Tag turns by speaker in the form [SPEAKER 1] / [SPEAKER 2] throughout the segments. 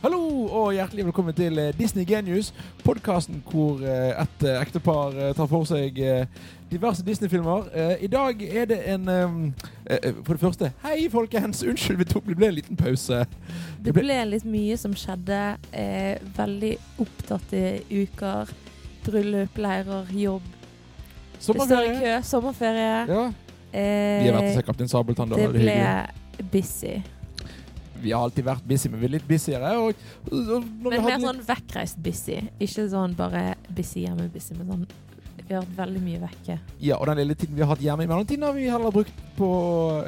[SPEAKER 1] Hallo og hjertelig velkommen til eh, Disney Genius, podkasten hvor eh, et eh, ektepar eh, tar for seg eh, diverse Disney-filmer. Eh, I dag er det en eh, eh, For det første, hei folkens! Unnskyld, vi tok, det ble en liten pause.
[SPEAKER 2] Det
[SPEAKER 1] ble-
[SPEAKER 2] ble litt mye som skjedde. Eh, veldig opptatte uker. Bryllup, leirer, jobb. Det står i kø. Sommerferie.
[SPEAKER 1] Ja. Vi
[SPEAKER 2] Eh,
[SPEAKER 1] har vært og sett Kaptein Sabeltann. da
[SPEAKER 2] det
[SPEAKER 1] var det
[SPEAKER 2] ble
[SPEAKER 1] hyggelig.
[SPEAKER 2] busy.
[SPEAKER 1] Vi har alltid vært busy, men vi er litt busyere. Og, og, og når vi
[SPEAKER 2] Men
[SPEAKER 1] hadde
[SPEAKER 2] mer
[SPEAKER 1] litt-
[SPEAKER 2] sånn vekkreist busy. Ikke sånn bare busy hjemme, busy, men sånn Vi har vært veldig mye vekke.
[SPEAKER 1] Ja, og den lille tiden vi har hatt hjemme i mellomtiden har vi heller brukt på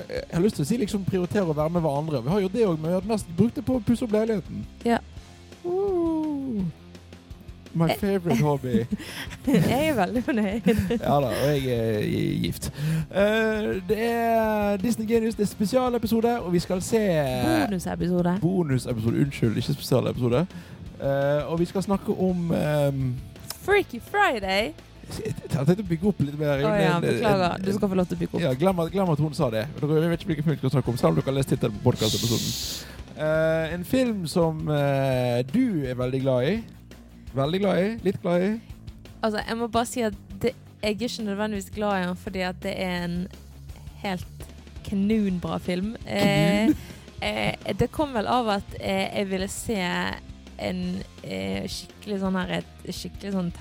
[SPEAKER 1] Jeg har lyst til å si liksom prioritere å være med hverandre. Vi har gjort det òg, men vi har mest brukt det på å pusse opp leiligheten.
[SPEAKER 2] Ja. Eh.
[SPEAKER 1] Woo. my favorite hobby.
[SPEAKER 2] Jeg er veldig fornøyd.
[SPEAKER 1] Ja da, og jeg er gift. Eh, det er Disney Genius, det er spesialepisode, og vi skal se
[SPEAKER 2] Bonusepisode.
[SPEAKER 1] Bonusepisode. Unnskyld, ikke spesialepisode. Eh, og vi skal snakke om ehm,
[SPEAKER 2] Freaky Friday!
[SPEAKER 1] Jeg tenkte å bygge opp litt mer. eh,
[SPEAKER 2] Å ja, beklager. Du skal få lov til å bygge opp.
[SPEAKER 1] Ja, glem, at- glem at hun sa det. Dere vet ikke hvilken film vi skal snakke om, selv om dere har lest tittelen på podkastepisoden. en film som eh, du er veldig glad i. Veldig glad i. Litt glad i.
[SPEAKER 2] Altså, jeg må bare si at det, jeg er ikke nødvendigvis glad i den, fordi at det er en helt kanonbra film. Eh, eh, det kom vel av at eh, jeg ville se en eh, skikkelig sånn her et, skikkelig sånn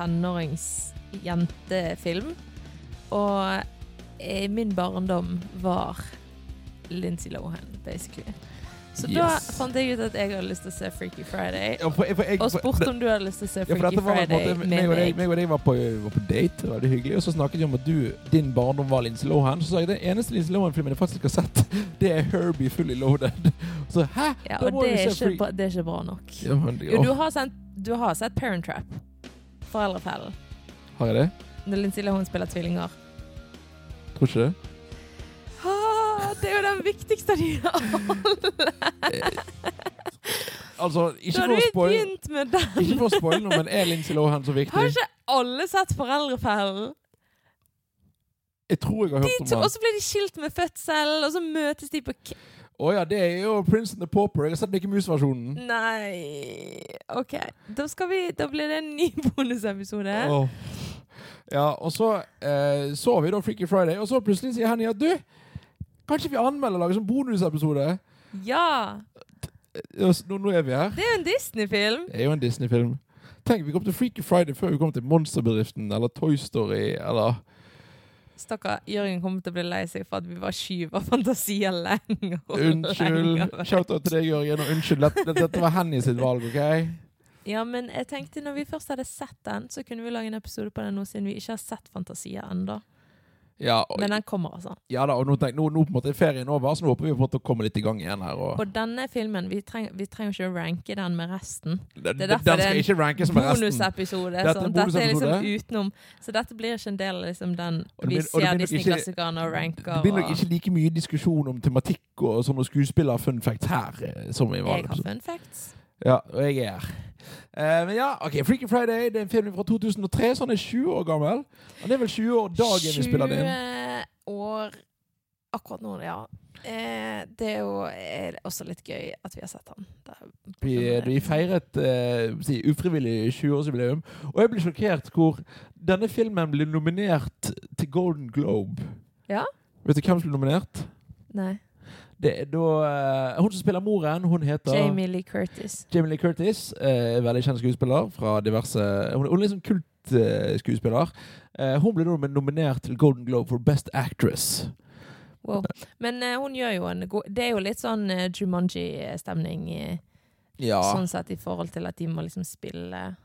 [SPEAKER 2] tenåringsjentefilm. Og eh, min barndom var Lindsay Lohan, basically. Så
[SPEAKER 1] Yes.
[SPEAKER 2] da fant jeg ut at jeg hadde lyst til å se Freaky Friday.
[SPEAKER 1] Ja, for, for jeg,
[SPEAKER 2] Og
[SPEAKER 1] for-
[SPEAKER 2] spurte om du hadde lyst til å se
[SPEAKER 1] ja, for
[SPEAKER 2] Freaky
[SPEAKER 1] dette var på en
[SPEAKER 2] Friday
[SPEAKER 1] måte, meg,
[SPEAKER 2] med
[SPEAKER 1] og deg,
[SPEAKER 2] meg.
[SPEAKER 1] meg og deg var på, var på date, det var veldig hyggelig, og så snakket vi om at du, din barndom var Lindsay Lohan. Så sa jeg den eneste Lindsay Lohan-filmen jeg faktisk har sett, det er Herbie Fully Loaded. Så hæ?
[SPEAKER 2] Ja,
[SPEAKER 1] Da
[SPEAKER 2] og
[SPEAKER 1] må
[SPEAKER 2] det
[SPEAKER 1] vi se
[SPEAKER 2] er, ikke
[SPEAKER 1] Freak-
[SPEAKER 2] bra, det er ikke bra nok.
[SPEAKER 1] Ja, men,
[SPEAKER 2] Jo, du
[SPEAKER 1] åh,
[SPEAKER 2] har, sendt, du har sett Parent Trap. Foreldrefellen.
[SPEAKER 1] har jeg det?
[SPEAKER 2] Når Lindsay Lohan spiller tvillinger.
[SPEAKER 1] Tror ikke det.
[SPEAKER 2] Ah, det er jo den viktigste av de alle!
[SPEAKER 1] Altså,
[SPEAKER 2] Da
[SPEAKER 1] ikke for
[SPEAKER 2] hadde
[SPEAKER 1] å
[SPEAKER 2] vi
[SPEAKER 1] spoil-
[SPEAKER 2] begynt med den.
[SPEAKER 1] ikke for å spoile noe, men er Lindsay Lohan så viktig?
[SPEAKER 2] Har ikke alle sett Foreldrefellen?
[SPEAKER 1] Jeg tror jeg har
[SPEAKER 2] De
[SPEAKER 1] hørt om
[SPEAKER 2] to,
[SPEAKER 1] han.
[SPEAKER 2] og så ble de skilt med fødsel, og så møtes de på k...
[SPEAKER 1] Å ja, det er jo Prince and the Pauper. Jeg har sett Mickey Mouse-versjonen.
[SPEAKER 2] Nei OK. Da, skal vi, da blir det en ny bonusepisode.
[SPEAKER 1] Åh. Ja, og så eh, så vi da Freaky Friday, og så plutselig sier Henny at du, kanskje vi anmelder og lager sånn bonusepisode?
[SPEAKER 2] Ja!
[SPEAKER 1] Eh, og s- Nå, nå er vi her.
[SPEAKER 2] Det er jo en Disney-film.
[SPEAKER 1] Det er jo en Disney-film. Tenk, vi kom til Freaky Friday før vi kom til Monsterbedriften eller Toy Story eller
[SPEAKER 2] Stakkar Jørgen kommer til å bli lei seg for at vi var skyver fantasier lenger og
[SPEAKER 1] Unnskyld.
[SPEAKER 2] lenger.
[SPEAKER 1] Shout-out til deg, Jørgen, og unnskyld. Dette, dette var Henny sitt valg, OK?
[SPEAKER 2] Ja, men jeg tenkte når vi først hadde sett den, så kunne vi lage en episode på den nå, siden vi ikke har sett fantasier ennå.
[SPEAKER 1] Ja, og,
[SPEAKER 2] Men den kommer, altså.
[SPEAKER 1] ja da, og nå, tenk, nå, nå på en måte er ferien over, så nå håper vi på en måte å komme litt i gang igjen her. Og,
[SPEAKER 2] Og denne filmen, vi, treng, vi trenger ikke å ranke den med resten.
[SPEAKER 1] Den,
[SPEAKER 2] Det er
[SPEAKER 1] den
[SPEAKER 2] derfor
[SPEAKER 1] skal
[SPEAKER 2] det er en
[SPEAKER 1] ikke rankes med resten.
[SPEAKER 2] Bonusepisode.
[SPEAKER 1] Dette er
[SPEAKER 2] Sånn.
[SPEAKER 1] en
[SPEAKER 2] Dette er liksom
[SPEAKER 1] bonusepisode.
[SPEAKER 2] utenom. Så dette blir ikke en del av liksom, den
[SPEAKER 1] Og det
[SPEAKER 2] vi
[SPEAKER 1] blir- og det blir
[SPEAKER 2] ser
[SPEAKER 1] nok
[SPEAKER 2] Disney-klassikerne og
[SPEAKER 1] Det
[SPEAKER 2] ranker
[SPEAKER 1] blir nok
[SPEAKER 2] og
[SPEAKER 1] ikke like mye diskusjon om tematikk og sånne skuespiller-fun facts her. eh, Som i
[SPEAKER 2] Jeg har
[SPEAKER 1] vanlig.
[SPEAKER 2] fun facts.
[SPEAKER 1] Ja, og jeg er her. Eh, men ja, ok, Freaky Friday det er en film fra 2003, så han er 20 år gammel. Han er vel 20 år dagen vi spiller den inn.
[SPEAKER 2] 20 år akkurat nå, ja. Eh, det er jo er det også litt gøy at vi har sett han. Det er-
[SPEAKER 1] Vi, vi feiret eh, si, ufrivillig 20-årsjubileum, og jeg ble sjokkert hvor denne filmen ble nominert til Golden Globe.
[SPEAKER 2] Ja.
[SPEAKER 1] Vet du hvem som ble nominert?
[SPEAKER 2] Nei.
[SPEAKER 1] Det er da eh, Hun som spiller moren, hun heter
[SPEAKER 2] Jamie Lee Curtis.
[SPEAKER 1] Jamie Lee Curtis, eh, veldig kjent skuespiller fra diverse Hun hun er liksom kultskuespiller. Eh, hun ble nå nominert til Golden Globe for Best Actress.
[SPEAKER 2] Wow. Men eh, hun gjør jo en god Det er jo litt sånn eh, Jumanji-stemning, eh,
[SPEAKER 1] Ja.
[SPEAKER 2] sånn sett i forhold til at de må liksom spille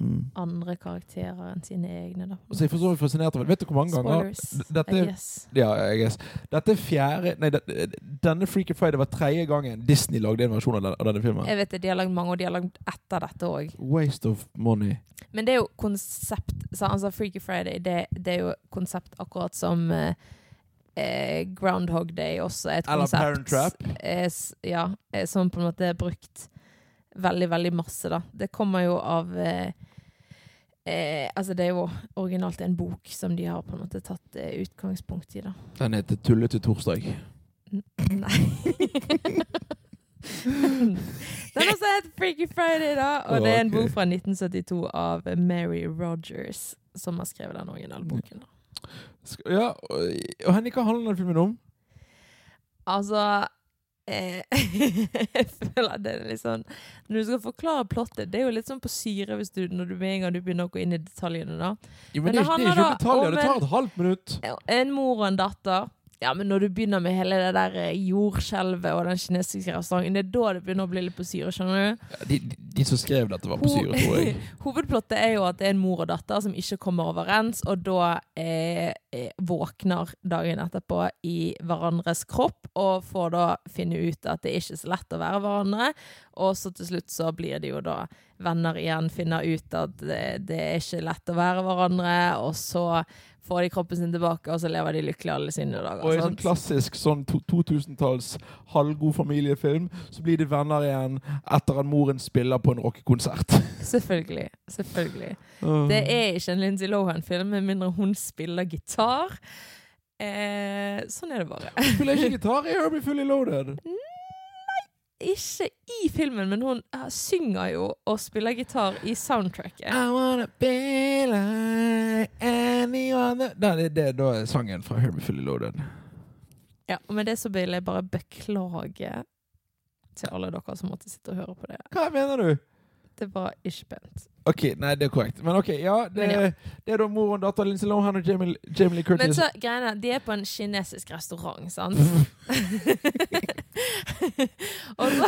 [SPEAKER 1] Mm.
[SPEAKER 2] andre karakterer enn sine egne, da.
[SPEAKER 1] Og så er jeg for så vidt fascinert over Vet du hvor mange ganger
[SPEAKER 2] Spoilers,
[SPEAKER 1] D-
[SPEAKER 2] I
[SPEAKER 1] dette,
[SPEAKER 2] guess.
[SPEAKER 1] ja, I guess. dette er fjerde Nei, det- denne Freaky Friday var tredje gangen Disney lagde en versjon av den- av denne filmen.
[SPEAKER 2] Jeg vet det, de har lagd mange, og de har lagd etter dette òg.
[SPEAKER 1] Waste of money.
[SPEAKER 2] Men det er jo konsept så, altså Freaky Friday det, det er jo konsept akkurat som eh, eh, Groundhog Day også er et
[SPEAKER 1] Eller
[SPEAKER 2] konsept.
[SPEAKER 1] Parent Trap.
[SPEAKER 2] eh, s- ja, eh, som på en måte er brukt veldig, veldig masse, da. Det kommer jo av eh, eh, Altså, det er jo originalt en bok som de har på en måte tatt eh, utgangspunkt i, da.
[SPEAKER 1] Den heter Tullete torsdag.
[SPEAKER 2] Nei. Den også det heter Freaky Friday, da. Og det er en
[SPEAKER 1] Ok.
[SPEAKER 2] bok fra 1972 av Mary Rogers, som har skrevet den originalboken. da.
[SPEAKER 1] Sk- Ja, og, og Henning, hva handler den filmen om?
[SPEAKER 2] Altså eh, Jeg føler at det er litt sånn Når du skal forklare plottet Det er jo litt sånn på syre hvis du, når du med en gang du begynner å gå inn i detaljene. da
[SPEAKER 1] Jo,
[SPEAKER 2] Men
[SPEAKER 1] men, det, er ikke- det
[SPEAKER 2] det
[SPEAKER 1] er
[SPEAKER 2] handler
[SPEAKER 1] ikke
[SPEAKER 2] da
[SPEAKER 1] detaljer.
[SPEAKER 2] om
[SPEAKER 1] Det tar et halvt minutt.
[SPEAKER 2] En mor og en datter. Ja, men når du begynner med hele det der eh, jordskjelvet og den kinesiske restauranten, det er da det begynner å bli litt på syre, skjønner du?
[SPEAKER 1] Ja, De, de, de som skrev dette, var på
[SPEAKER 2] Ho-
[SPEAKER 1] syre, tror jeg.
[SPEAKER 2] Hovedplottet er jo at det er en mor og datter som ikke kommer overens, og da eh, eh, våkner dagen etterpå i hverandres kropp, og får da finne ut at det er ikke så lett å være hverandre, og så til slutt så blir de jo da venner igjen, finner ut at det, det er ikke lett å være hverandre, og så får de kroppen sin tilbake, og så lever de lykkelig alle sine dager.
[SPEAKER 1] Og i sånn
[SPEAKER 2] sant?
[SPEAKER 1] klassisk sånn to- 2000-talls halvgod familiefilm, så blir de venner igjen etter at moren spiller på en rockekonsert.
[SPEAKER 2] Selvfølgelig. Selvfølgelig.
[SPEAKER 1] Mm.
[SPEAKER 2] Det er ikke en Lindsay Lohan-film, med mindre hun spiller gitar. Eh, sånn er det bare.
[SPEAKER 1] Spiller ikke gitar i Herbie Fully Loaded.
[SPEAKER 2] Ikke i filmen, men hun eh, synger jo og spiller gitar i soundtracket.
[SPEAKER 1] I wanna be like any other Nei, det, det, da er sangen fra Herbie Fully Loaded.
[SPEAKER 2] Ja, og med det så vil jeg bare beklage til alle dere som måtte sitte og høre på det.
[SPEAKER 1] Hva mener du?
[SPEAKER 2] Det var ikke pent.
[SPEAKER 1] OK, nei, det er korrekt. Men ok, ja, det,
[SPEAKER 2] Men ja.
[SPEAKER 1] det er da mor og datter Lindsay Lohan og Jamie, Jamie Lee Curtis.
[SPEAKER 2] Men så, greiene, de er på en kinesisk restaurant, sant? og så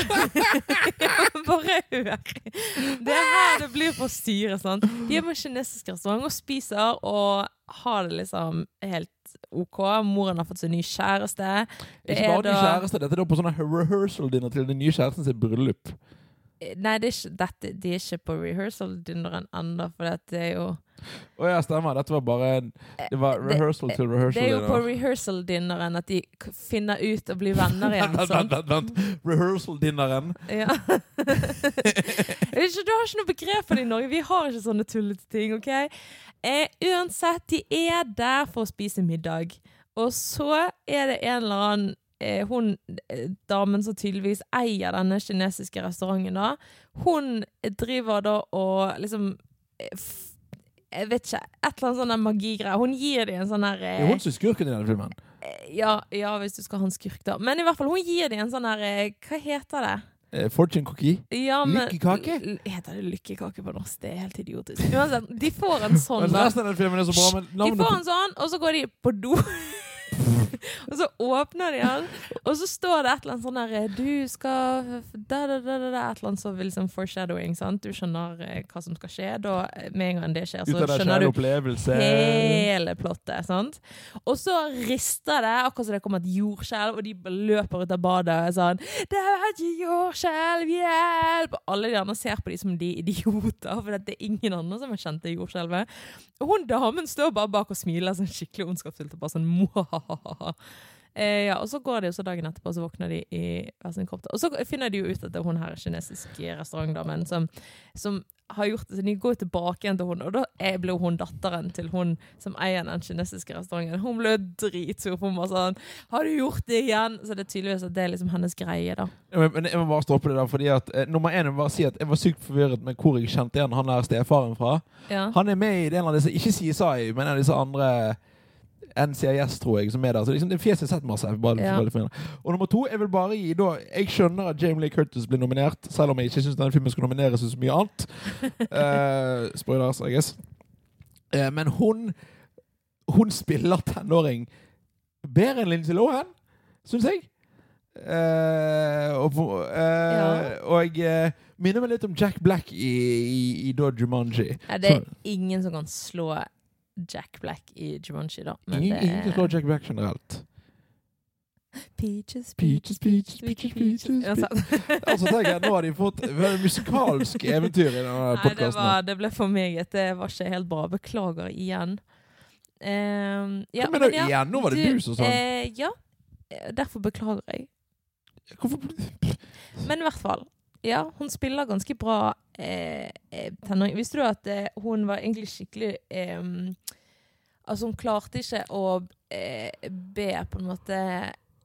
[SPEAKER 2] Bare hør. Det er her det blir for syre, sant? De er på en kinesisk restaurant og spiser og har det liksom helt OK. Moren har fått seg ny kjæreste. Det
[SPEAKER 1] ikke
[SPEAKER 2] er
[SPEAKER 1] bare ny
[SPEAKER 2] da-
[SPEAKER 1] kjæreste, dette er da på sånne rehearsal-dinner til den nye kjæresten sitt bryllup.
[SPEAKER 2] Nei, det er ikke, dette, de er ikke på rehearsal-dunderen ennå, for at det er jo
[SPEAKER 1] Å ja, stemmer. Dette var bare en, Det var
[SPEAKER 2] Eh, det-
[SPEAKER 1] rehearsal til rehearsal.
[SPEAKER 2] Det er jo
[SPEAKER 1] dinner.
[SPEAKER 2] på rehearsal-dinneren at de k- finner ut og blir venner igjen.
[SPEAKER 1] Vent,
[SPEAKER 2] sant?
[SPEAKER 1] vent, vent, vent. Rehearsal-dinneren.
[SPEAKER 2] Ja. Jeg vet ikke, du har ikke noe begrep for det i Norge. Vi har ikke sånne tullete ting. ok? Eh, uansett, de er der for å spise middag. Og så er det en eller annen eh, hun, eh, Damen som tydeligvis eier denne kinesiske restauranten, da, hun driver da og liksom eh, f Jeg vet ikke. Et eller annet sånn der magigreie. Hun gir dem en sånn her
[SPEAKER 1] Det er
[SPEAKER 2] eh,
[SPEAKER 1] hun som er skurken i denne filmen.
[SPEAKER 2] ja, ja, hvis du skal ha en skurk, da. Men i hvert fall, hun gir dem en sånn her eh, Hva heter det?
[SPEAKER 1] Eh, Fortune cookie.
[SPEAKER 2] Ja, men,
[SPEAKER 1] Lykkekake?
[SPEAKER 2] L- Heter det lykkekake på norsk? Det er helt idiotisk. Uansett, de får en sånn,
[SPEAKER 1] Men
[SPEAKER 2] da.
[SPEAKER 1] resten av den filmen er så bra, men
[SPEAKER 2] De
[SPEAKER 1] Altså, navnet
[SPEAKER 2] får en sånn, og så går de på do. og så åpner de den, og så står det et eller annet sånn der Du skal da, da, da, da, da, Et eller annet som vil liksom foreshadowing, sant? Du skjønner eh, hva som skal skje. Da, eh, med en gang det skjer,
[SPEAKER 1] Ut
[SPEAKER 2] så
[SPEAKER 1] av den
[SPEAKER 2] skjønner
[SPEAKER 1] kjære
[SPEAKER 2] du
[SPEAKER 1] opplevelse.
[SPEAKER 2] hele plottet. sant? Og så rister det, akkurat som det kommer et jordskjelv, og de løper ut av badet og er sånn 'Det er et jordskjelv, hjelp!' Og alle de andre ser på de som de er idioter, for det er ingen andre som har kjent det jordskjelvet. Og hun damen står bare bak og smiler sånn skikkelig ondskapsfullt og bare sånn «Mwahahaha». Eh, ja, og så går de, og så dagen etterpå så våkner de i hver sin kropp. Og så finner de jo ut at det er hun her kinesiske restaurantdamen som, som har gjort det, så de går tilbake igjen til hun, og da er- ble hun datteren til hun som eier den kinesiske restauranten. Hun ble dritsur på meg sånn 'Har du gjort det igjen?' Så det er tydeligvis at det er liksom hennes greie, da.
[SPEAKER 1] Ja, Men men jeg må bare stoppe det der, fordi at eh, nummer én jeg må bare si at jeg var sykt forvirret med hvor jeg kjente igjen han der stefaren fra.
[SPEAKER 2] Ja.
[SPEAKER 1] Han er med i en av disse, ikke CSI, men en av disse andre NCIS, tror jeg, som er der. Så liksom, det fjeset jeg har sett masse. jeg Bare,
[SPEAKER 2] Ja.
[SPEAKER 1] bare litt mer. Og nummer to, jeg vil bare gi da Jeg skjønner at Jamie Lee Curtis blir nominert, selv om jeg ikke syns denne filmen skal nomineres til så mye annet. Eh, spoilers, I guess. Eh, men hun Hun spiller tenåring bedre enn Lindsay Lohan, syns jeg. Eh, og for- eh, og eh, minner meg litt om Jack Black i, i, i da Jumanji.
[SPEAKER 2] Ja, det er ingen som kan slå Jack Black i Jumanji, da. Men
[SPEAKER 1] Ingen, ingen som slår
[SPEAKER 2] det
[SPEAKER 1] Jack Black generelt.
[SPEAKER 2] Peaches,
[SPEAKER 1] Peaches, peaches, peaches, peaches.
[SPEAKER 2] Ja,
[SPEAKER 1] peaches.
[SPEAKER 2] sant.
[SPEAKER 1] Altså tenker jeg, Nå har de fått et musikalsk eventyr i denne
[SPEAKER 2] Nei, det,
[SPEAKER 1] podkasten.
[SPEAKER 2] var, det ble for meget. Det var ikke helt bra. Beklager igjen. Um, ja,
[SPEAKER 1] Hva mener du
[SPEAKER 2] ja,
[SPEAKER 1] igjen? Nå var det du som sa det.
[SPEAKER 2] eh, Ja, Eh, derfor beklager jeg.
[SPEAKER 1] Hvorfor
[SPEAKER 2] Men i hvert fall. Ja, hun spiller ganske bra eh, eh, tenåring. Visste du at eh, hun var egentlig skikkelig eh, Altså, hun klarte ikke å eh, be, på en måte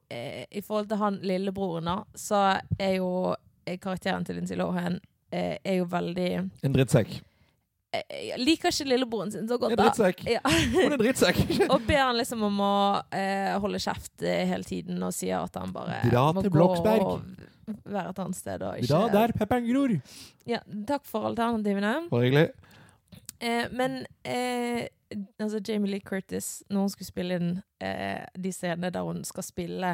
[SPEAKER 2] eh, I forhold til han lillebroren, da, så er jo eh, karakteren til Lindsay Lohan eh, er jo veldig
[SPEAKER 1] En drittsekk.
[SPEAKER 2] eh, Jeg liker ikke lillebroren sin så
[SPEAKER 1] En
[SPEAKER 2] godt, da.
[SPEAKER 1] drittsekk.
[SPEAKER 2] Ja.
[SPEAKER 1] Hun er en drittsekk.
[SPEAKER 2] Og ber han liksom om å eh, holde kjeft eh, hele tiden, og sier at han bare
[SPEAKER 1] Dra
[SPEAKER 2] må
[SPEAKER 1] til
[SPEAKER 2] gå
[SPEAKER 1] Bloksberg.
[SPEAKER 2] og være et annet sted. Og
[SPEAKER 1] Da
[SPEAKER 2] ikke
[SPEAKER 1] der pepperen gror.
[SPEAKER 2] Ja, takk for alternativene.
[SPEAKER 1] Bare hyggelig.
[SPEAKER 2] Eh, men eh, altså Jamie Lee Curtis, når hun skulle spille inn eh, de scenene der hun skal spille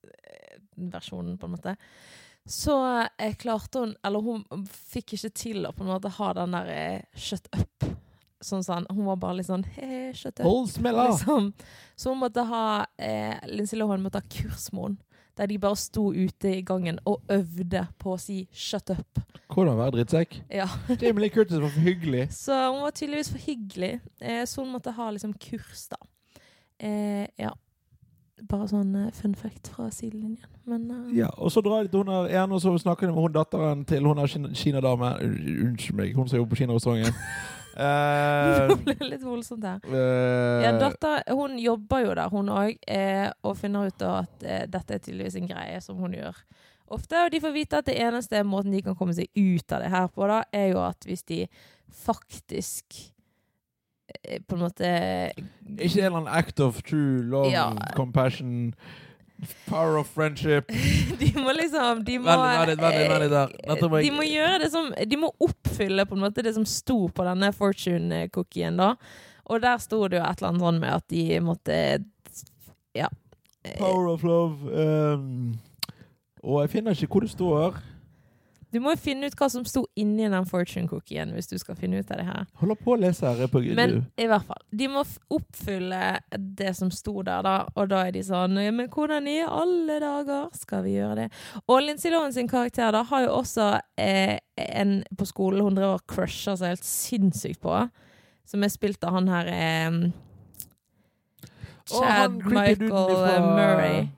[SPEAKER 2] tenåringsversjonen, på en måte, så eh, klarte hun Eller hun fikk ikke til å på en måte ha den der eh, 'shut up'. Sånn sånn. Hun var bare litt sånn hey, 'shut up'.
[SPEAKER 1] Hold smella!
[SPEAKER 2] Liksom. Så hun måtte ha eh, Lindsay Lohan måtte ha kurs med henne. Der de bare sto ute i gangen og øvde på å si 'shut up'.
[SPEAKER 1] Hvordan være drittsekk?
[SPEAKER 2] Ja.
[SPEAKER 1] Jamie Lee Curtis var for hyggelig.
[SPEAKER 2] Så hun var tydeligvis for hyggelig, eh, så hun måtte ha liksom kurs, da. Eh, ja. Bare sånn eh, fun fact fra sidelinjen. Men eh,
[SPEAKER 1] Ja, og så drar de til hun der ene, og så snakker de med hun datteren til hun der kin- kinadame. Un- Unnskyld meg, hun som jobber på kinarestauranten.
[SPEAKER 2] det
[SPEAKER 1] uh,
[SPEAKER 2] ble litt voldsomt her. Ja,
[SPEAKER 1] Eh,
[SPEAKER 2] datter, hun jobber jo der, hun òg, eh, og finner ut da at eh, dette er tydeligvis en greie som hun gjør ofte. Og de får vite at det eneste måten de kan komme seg ut av det her på, da, er jo at hvis de faktisk eh, på en måte
[SPEAKER 1] Ikke en eller annen act of true love,
[SPEAKER 2] Ja.
[SPEAKER 1] compassion, power of friendship.
[SPEAKER 2] De må liksom De må,
[SPEAKER 1] Vent litt, vent litt, vent litt, vent litt der.
[SPEAKER 2] eh,
[SPEAKER 1] Dette må jeg-
[SPEAKER 2] de må gjøre det som De må oppfylle på en måte det som sto på denne fortune-cookien, da. Og der sto det jo et eller annet sånn med at de måtte Ja. eh,
[SPEAKER 1] Power of love. ehm, og jeg finner ikke hvor det står.
[SPEAKER 2] Du må jo finne ut hva som sto inni den fortune-cookien, hvis du skal finne ut av det her.
[SPEAKER 1] Holder på å lese her. jeg På,
[SPEAKER 2] Men i hvert fall, de må f- oppfylle det som sto der, da. Og da er de sånn «Ja, Men hvordan i alle dager skal vi gjøre det? Og Lindsay Lohan sin karakter da har jo også eh, en på skolen hun driver og crusher seg helt sinnssykt på. Som er spilt av han her eh,
[SPEAKER 1] Og han
[SPEAKER 2] Chad
[SPEAKER 1] creepy duden
[SPEAKER 2] Michael
[SPEAKER 1] ifra-
[SPEAKER 2] eh, Murray.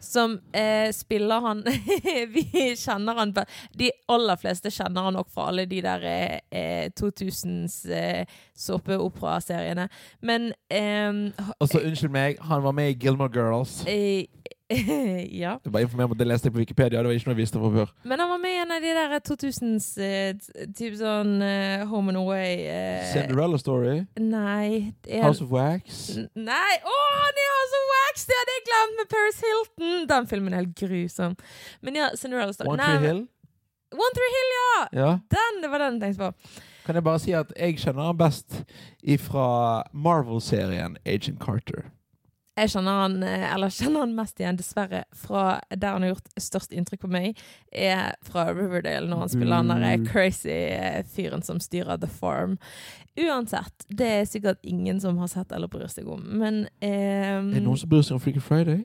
[SPEAKER 2] Som eh, spiller han Vi kjenner han på- De aller fleste kjenner han nok fra alle de der eh, eh, 2000s eh, såpeoperaseriene. Men ehm, ha-
[SPEAKER 1] Altså, unnskyld meg, han var med i Gilmore Girls.
[SPEAKER 2] eh, Ja.
[SPEAKER 1] Jeg bare informerer om at det leste jeg på Wikipedia. Det var ikke noe jeg visste fra før.
[SPEAKER 2] Men han var med i en av de der 2000s eh, t- Typ sånn eh, Home and Away eh,
[SPEAKER 1] Cinderella Story,
[SPEAKER 2] Nei. det er-
[SPEAKER 1] House of Wax.
[SPEAKER 2] N- Nei, å, han er altså wax! Det hadde jeg glemt med Paris Hilton! Den filmen er helt grusom. Men ja, Cinderella Star.
[SPEAKER 1] One
[SPEAKER 2] Nei,
[SPEAKER 1] Tree
[SPEAKER 2] men-
[SPEAKER 1] Hill.
[SPEAKER 2] One Tree Hill, ja!
[SPEAKER 1] Ja.
[SPEAKER 2] Den, det var den jeg tenkte på.
[SPEAKER 1] Kan jeg bare si at jeg kjenner han best ifra Marvel-serien Agent Carter.
[SPEAKER 2] Jeg kjenner han, eh, eller kjenner han mest igjen, dessverre, fra der han har gjort størst inntrykk på meg, er fra Riverdale, når han spiller han derre
[SPEAKER 1] Mm.
[SPEAKER 2] crazy eh, fyren som styrer The Farm. Uansett, det er sikkert ingen som har sett eller bryr seg om, men ehm,
[SPEAKER 1] Er det noen som bryr seg om Freaky Friday?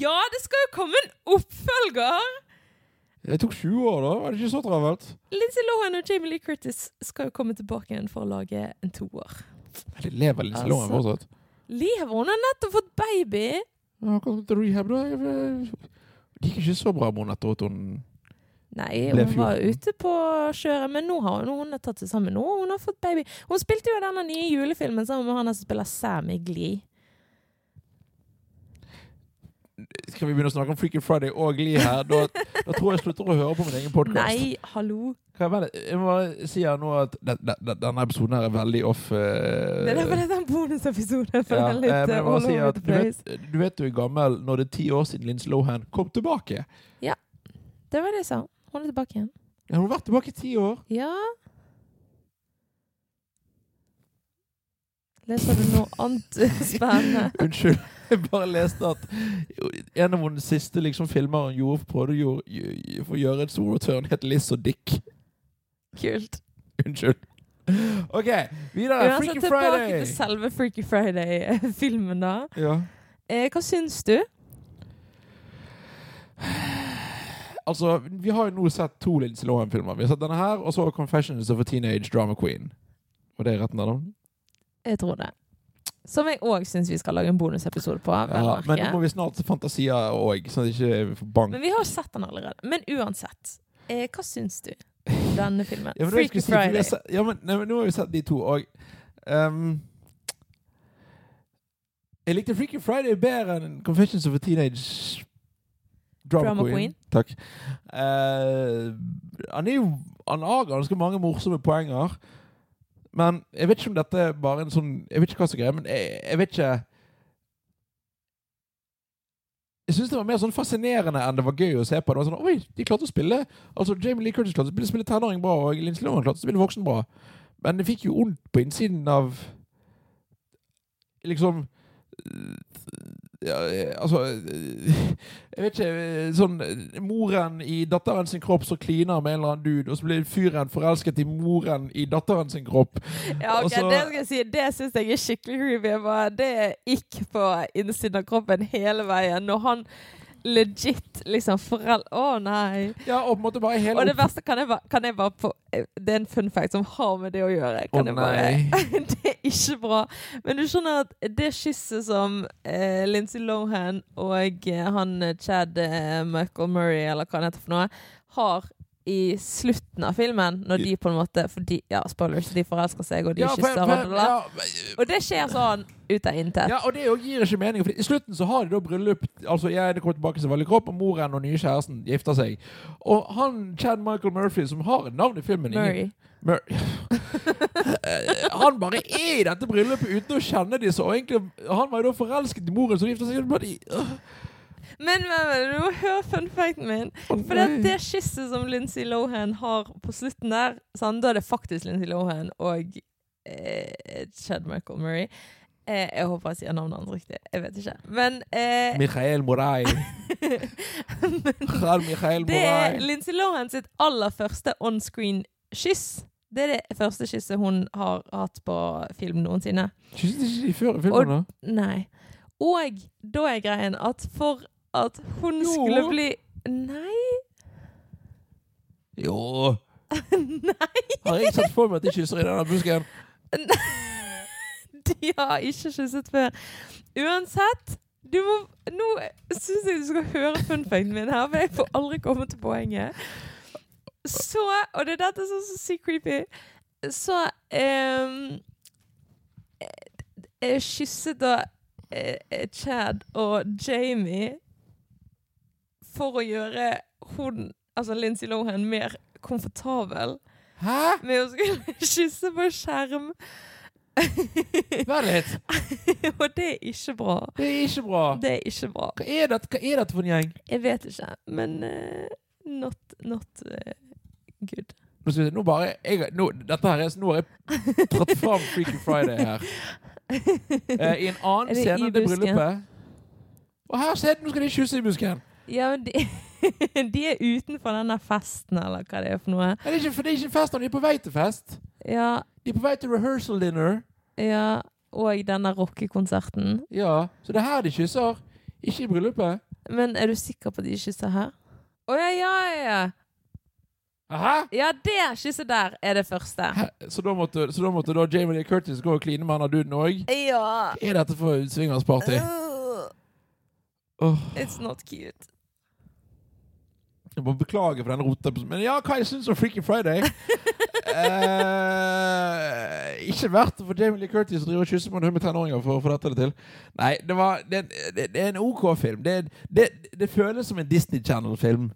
[SPEAKER 2] Ja, det skal jo komme en oppfølger!
[SPEAKER 1] Det tok 20 år, da. Var det ikke så travelt?
[SPEAKER 2] Lindsay Lohan og Jamie Lee Curtis skal jo komme tilbake igjen for å lage en toer.
[SPEAKER 1] Nei, Det lever litt altså.
[SPEAKER 2] Altså.
[SPEAKER 1] fortsatt.
[SPEAKER 2] Lever hun har nettopp fått baby!
[SPEAKER 1] Ja, hva med rehab, da? Jeg- jeg- Det gikk ikke så bra med henne etter at hun
[SPEAKER 2] Nei,
[SPEAKER 1] Ble
[SPEAKER 2] hun var
[SPEAKER 1] 14.
[SPEAKER 2] ute på kjøret, men nå har hun, hun har tatt seg sammen. Nå har hun har fått baby. Hun spilte jo denne nye julefilmen sammen med han som spiller Sam i Glee.
[SPEAKER 1] Skal vi begynne å snakke om Freaky Friday og Glee her? Da, da tror jeg jeg slutter å høre på min egen podkast.
[SPEAKER 2] Nei, hallo!
[SPEAKER 1] Jeg bare- jeg må bare si her nå at den- den- den- denne episoden her er veldig off. eh,
[SPEAKER 2] Det er derfor dette er en sånn bonusepisode. Jeg
[SPEAKER 1] ja,
[SPEAKER 2] føler
[SPEAKER 1] eh,
[SPEAKER 2] litt
[SPEAKER 1] men jeg
[SPEAKER 2] eh,
[SPEAKER 1] må bare
[SPEAKER 2] all
[SPEAKER 1] si
[SPEAKER 2] over
[SPEAKER 1] at
[SPEAKER 2] the
[SPEAKER 1] du
[SPEAKER 2] place.
[SPEAKER 1] vet, du vet du er gammel når det er ti år siden Lince Lohan kom tilbake.
[SPEAKER 2] Det var det jeg sa. Hun er tilbake igjen.
[SPEAKER 1] Ja, Hun har vært tilbake i ti år.
[SPEAKER 2] Ja Leser du noe annet spennende?
[SPEAKER 1] Unnskyld. Jeg bare leste at en av hennes siste liksom, filmer hun gjorde, prøvde å gjøre- for å gjøre et stor return, het Liz og Dick.
[SPEAKER 2] Kult.
[SPEAKER 1] Unnskyld. OK, videre.
[SPEAKER 2] Uansett,
[SPEAKER 1] Ah, Freaky
[SPEAKER 2] tilbake til
[SPEAKER 1] Friday.
[SPEAKER 2] selve Freaky Friday-filmen, da.
[SPEAKER 1] Ja.
[SPEAKER 2] Eh, hva syns du?
[SPEAKER 1] Altså, Vi har jo nå sett to Lindsay Lohan-filmer. Vi har sett denne her, og så 'Confessions of a Teenage Drama Queen'. Var det rett navn?
[SPEAKER 2] Jeg tror det. Som jeg òg syns vi skal lage en bonusepisode på. vel å
[SPEAKER 1] Ja,
[SPEAKER 2] merke.
[SPEAKER 1] men nå må vi snart til Fantasia òg, sånn at vi ikke får bank.
[SPEAKER 2] men vi har sett den allerede. Men uansett, eh, hva syns du om denne filmen?
[SPEAKER 1] Ja, men det var
[SPEAKER 2] Freaky
[SPEAKER 1] jeg skulle si, for vi har
[SPEAKER 2] Friday.
[SPEAKER 1] sett- ja, men, nei, men nå har vi sett de to òg. Um, jeg likte Freaky Friday bedre enn Confessions of a Teenage Drama,
[SPEAKER 3] Drama
[SPEAKER 1] queen.
[SPEAKER 3] queen.
[SPEAKER 1] Takk. Eh, han er jo Han har ganske mange morsomme poenger. Men jeg vet ikke om dette er bare en sånn Jeg vet ikke hva som er greia, men jeg, jeg vet ikke Jeg syns det var mer sånn fascinerende enn det var gøy å se på. Det var sånn, Oi, de klarte å spille Altså, Jamie Lee Curtis klarte å spille, spille tenåring bra, og Lindsay Lohan klarte å spille voksen bra. Men det fikk jo ondt på innsiden av Liksom ja, altså Jeg vet ikke Sånn Moren i datteren sin kropp som kliner med en eller annen dude, og så blir fyren forelsket i moren i datteren sin kropp.
[SPEAKER 2] Ja, ok,
[SPEAKER 1] Og så-
[SPEAKER 2] Det skal jeg si, det syns jeg er skikkelig creepy. Jeg bare, det gikk på innsiden av kroppen hele veien. Når han legit liksom forel... Å nei.
[SPEAKER 1] Ja, og på en måte bare hele
[SPEAKER 2] Og det verste kan jeg bare, kan jeg bare på, Det er en fun fact som har med det å gjøre.
[SPEAKER 1] Å,
[SPEAKER 2] Kan jeg bare, det er ikke bra. Men du skjønner at det kysset som eh, Lindsay Lohan og eh, han eh, Chad eh, Michael Murray, eller hva han heter for noe, har i slutten av filmen, når de på en måte For de, ja, spoilers, de forelsker seg, og de
[SPEAKER 1] ja, for-
[SPEAKER 2] kysser
[SPEAKER 1] for-
[SPEAKER 2] hverandre.
[SPEAKER 1] ja,
[SPEAKER 2] Og det skjer sånn ut av intet.
[SPEAKER 1] ja, og det jo gir ikke mening. For I slutten så har de da bryllup. Altså jeg det kommer tilbake til vanlig kropp, og moren og nye kjæresten gifter seg. Og han Chad Michael Murphy, som har et navn i filmen ingen-
[SPEAKER 2] Murray.
[SPEAKER 1] Mur Eh, han bare er i dette bryllupet uten å kjenne de så og egentlig, Han var jo da forelsket i moren som gifta seg. men de- øh,
[SPEAKER 2] Men, men, men, du må høre fun facten min.
[SPEAKER 1] å
[SPEAKER 2] For det,
[SPEAKER 1] nei.
[SPEAKER 2] det kysset som Lindsay Lohan har på slutten der sant? Da er det faktisk Lindsay Lohan og eh, Chad Michael Murray. Eh, jeg håper jeg sier navnet hans riktig. Jeg vet ikke. Men, eh,
[SPEAKER 1] Michael Moray.
[SPEAKER 2] men
[SPEAKER 1] Khan Michael
[SPEAKER 2] det er
[SPEAKER 1] Moray.
[SPEAKER 2] Lindsay Lohan sitt aller første onscreen-kyss. Det er det første kysset hun har hatt på film noensinne.
[SPEAKER 1] Kysset ikke de før i filmen, da?
[SPEAKER 2] Nei. Og da er greien at for at hun
[SPEAKER 1] Jo.
[SPEAKER 2] skulle bli Nei,
[SPEAKER 1] Jo.
[SPEAKER 2] nei!
[SPEAKER 1] Har jeg sett for meg at de kysser i denne busken?
[SPEAKER 2] De har ikke kysset før. Uansett, du må Nå syns jeg du skal høre funfacten min her, for jeg får aldri komme til poenget. Så Og det er dette som er så sykt creepy. Så ehm, eh, eh, kysset da eh, eh, Chad og Jamie for å gjøre hun, altså Lindsay Lohan, mer komfortabel
[SPEAKER 1] Hæ?
[SPEAKER 2] med å skulle kysse på skjerm.
[SPEAKER 1] Vær litt.
[SPEAKER 2] Og det er ikke bra.
[SPEAKER 1] Det er ikke bra.
[SPEAKER 2] Det er ikke bra.
[SPEAKER 1] Hva er dette, Hva er dette for en gjeng?
[SPEAKER 2] Jeg vet ikke, men eh, not, not eh, good.
[SPEAKER 1] Nå skal vi se, nå bare jeg, nå, Dette her er Nå har jeg tatt fram Freaky Friday her. Eh, I en
[SPEAKER 2] Er
[SPEAKER 1] annen
[SPEAKER 2] det
[SPEAKER 1] scene enn
[SPEAKER 2] i
[SPEAKER 1] det
[SPEAKER 2] busken?
[SPEAKER 1] bryllupet. Og her ser du, nå skal de kysse i busken!
[SPEAKER 2] Ja, men de, de er utenfor denne festen, eller hva det er for noe.
[SPEAKER 1] Nei, det er ikke, for det er ikke fest, de er på vei til fest.
[SPEAKER 2] Ja,
[SPEAKER 1] De er på vei til rehearsal dinner.
[SPEAKER 2] ja. Og denne rockekonserten.
[SPEAKER 1] Ja, Så det er her de kysser. Ikke i bryllupet.
[SPEAKER 2] Men er du sikker på at de kysser her? Å ja, ja, ja, ja.
[SPEAKER 1] Hæ?
[SPEAKER 2] Ja, det kysset der er det første.
[SPEAKER 1] Hæ? Så da måtte, så da, måtte da Jamie Lee Curtis gå og kline med han av duden òg?
[SPEAKER 2] Ja.
[SPEAKER 1] Er dette for swingersparty?
[SPEAKER 2] Ugh,
[SPEAKER 1] Åh,
[SPEAKER 2] It's not cute.
[SPEAKER 1] jeg må beklage for den roten. Men ja, hva jeg syns om Freaky Friday? eh, ikke verdt det for Jamie Lee Curtis å drive og kysse på en hund med tenåringer for å få dette til. Nei, det, var, det, det, det er en OK film. Det, det, det føles som en Disney Channel-film.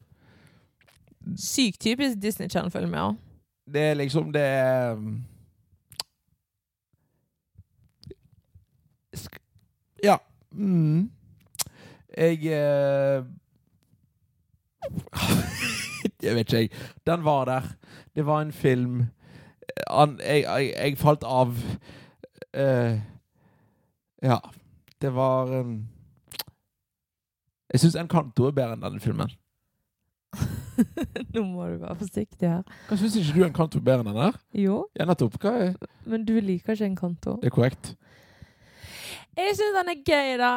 [SPEAKER 2] Sykt typisk Disney Channel-film, ja.
[SPEAKER 1] Det er liksom det er, um, sk- Ja. Mm. Jeg eh, Jeg vet ikke, jeg. Den var der. Det var en film. Han, jeg, jeg, jeg falt av. Eh, ja. Det var um, Jeg syns Encanto er bedre enn denne filmen.
[SPEAKER 2] Nå må du være forsiktig her.
[SPEAKER 1] Hva Syns ikke du Encanto er bedre enn den der?
[SPEAKER 2] Jo,
[SPEAKER 1] Ja, nettopp. Hva er,
[SPEAKER 2] men du liker ikke en kanto.
[SPEAKER 1] det er korrekt.
[SPEAKER 2] Jeg syns den er gøy, da.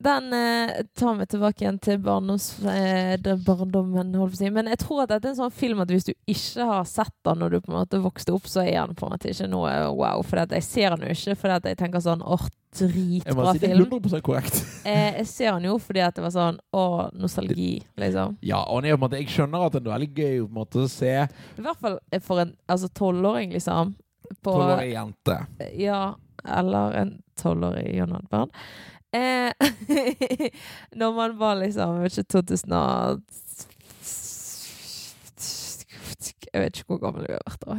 [SPEAKER 2] Den eh, tar meg tilbake igjen til barndoms, eh, det barndommen, holdt på å si. Men jeg tror at dette er en sånn film at hvis du ikke har sett den når du på en måte vokste opp, så er den på en måte ikke noe wow. For at jeg ser den jo ikke fordi at jeg tenker sånn åh,
[SPEAKER 1] Jeg må
[SPEAKER 2] dritbra
[SPEAKER 1] si det er
[SPEAKER 2] film.
[SPEAKER 1] 100 korrekt.
[SPEAKER 2] Eh, jeg ser den jo fordi at det var sånn åh, nostalgi, liksom.
[SPEAKER 1] Ja, og det er jo på en måte, jeg skjønner at det er veldig gøy på en måte, å se
[SPEAKER 2] I hvert fall for en altså tolvåring, liksom. På,
[SPEAKER 1] tolvårige jenter.
[SPEAKER 2] Ja, eller en tolvårig John Adbjørn. Eh, når man var liksom jeg vet ikke, 2000 og Jeg vet ikke hvor gammel vi har vært da.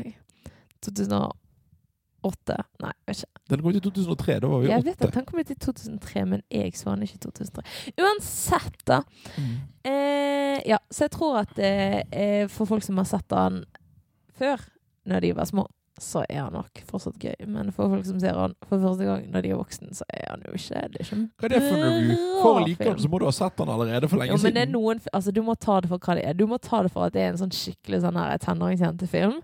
[SPEAKER 2] 2008? Nei, jeg vet ikke.
[SPEAKER 1] Den kom ut i 2003. Da var vi
[SPEAKER 2] Jeg vet
[SPEAKER 1] åtte.
[SPEAKER 2] at han kom ut i 2003, men jeg så han ikke i 2003. Uansett, da.
[SPEAKER 1] Mm.
[SPEAKER 2] Eh, ja, så jeg tror at eh, eh, for folk som har sett han før, når de var små, så er han nok fortsatt gøy. Men for folk som ser han for første gang når de er voksen, så er han jo ikke det er ikke en
[SPEAKER 1] Hva er det for en review?
[SPEAKER 2] bra
[SPEAKER 1] For å like
[SPEAKER 2] film.
[SPEAKER 1] den, så må du ha sett den allerede for lenge
[SPEAKER 2] Jo, men det er
[SPEAKER 1] siden.
[SPEAKER 2] noen, altså, du må ta det for hva det er. Du må ta det for at det er en sånn skikkelig sånn her tenåringsjentefilm.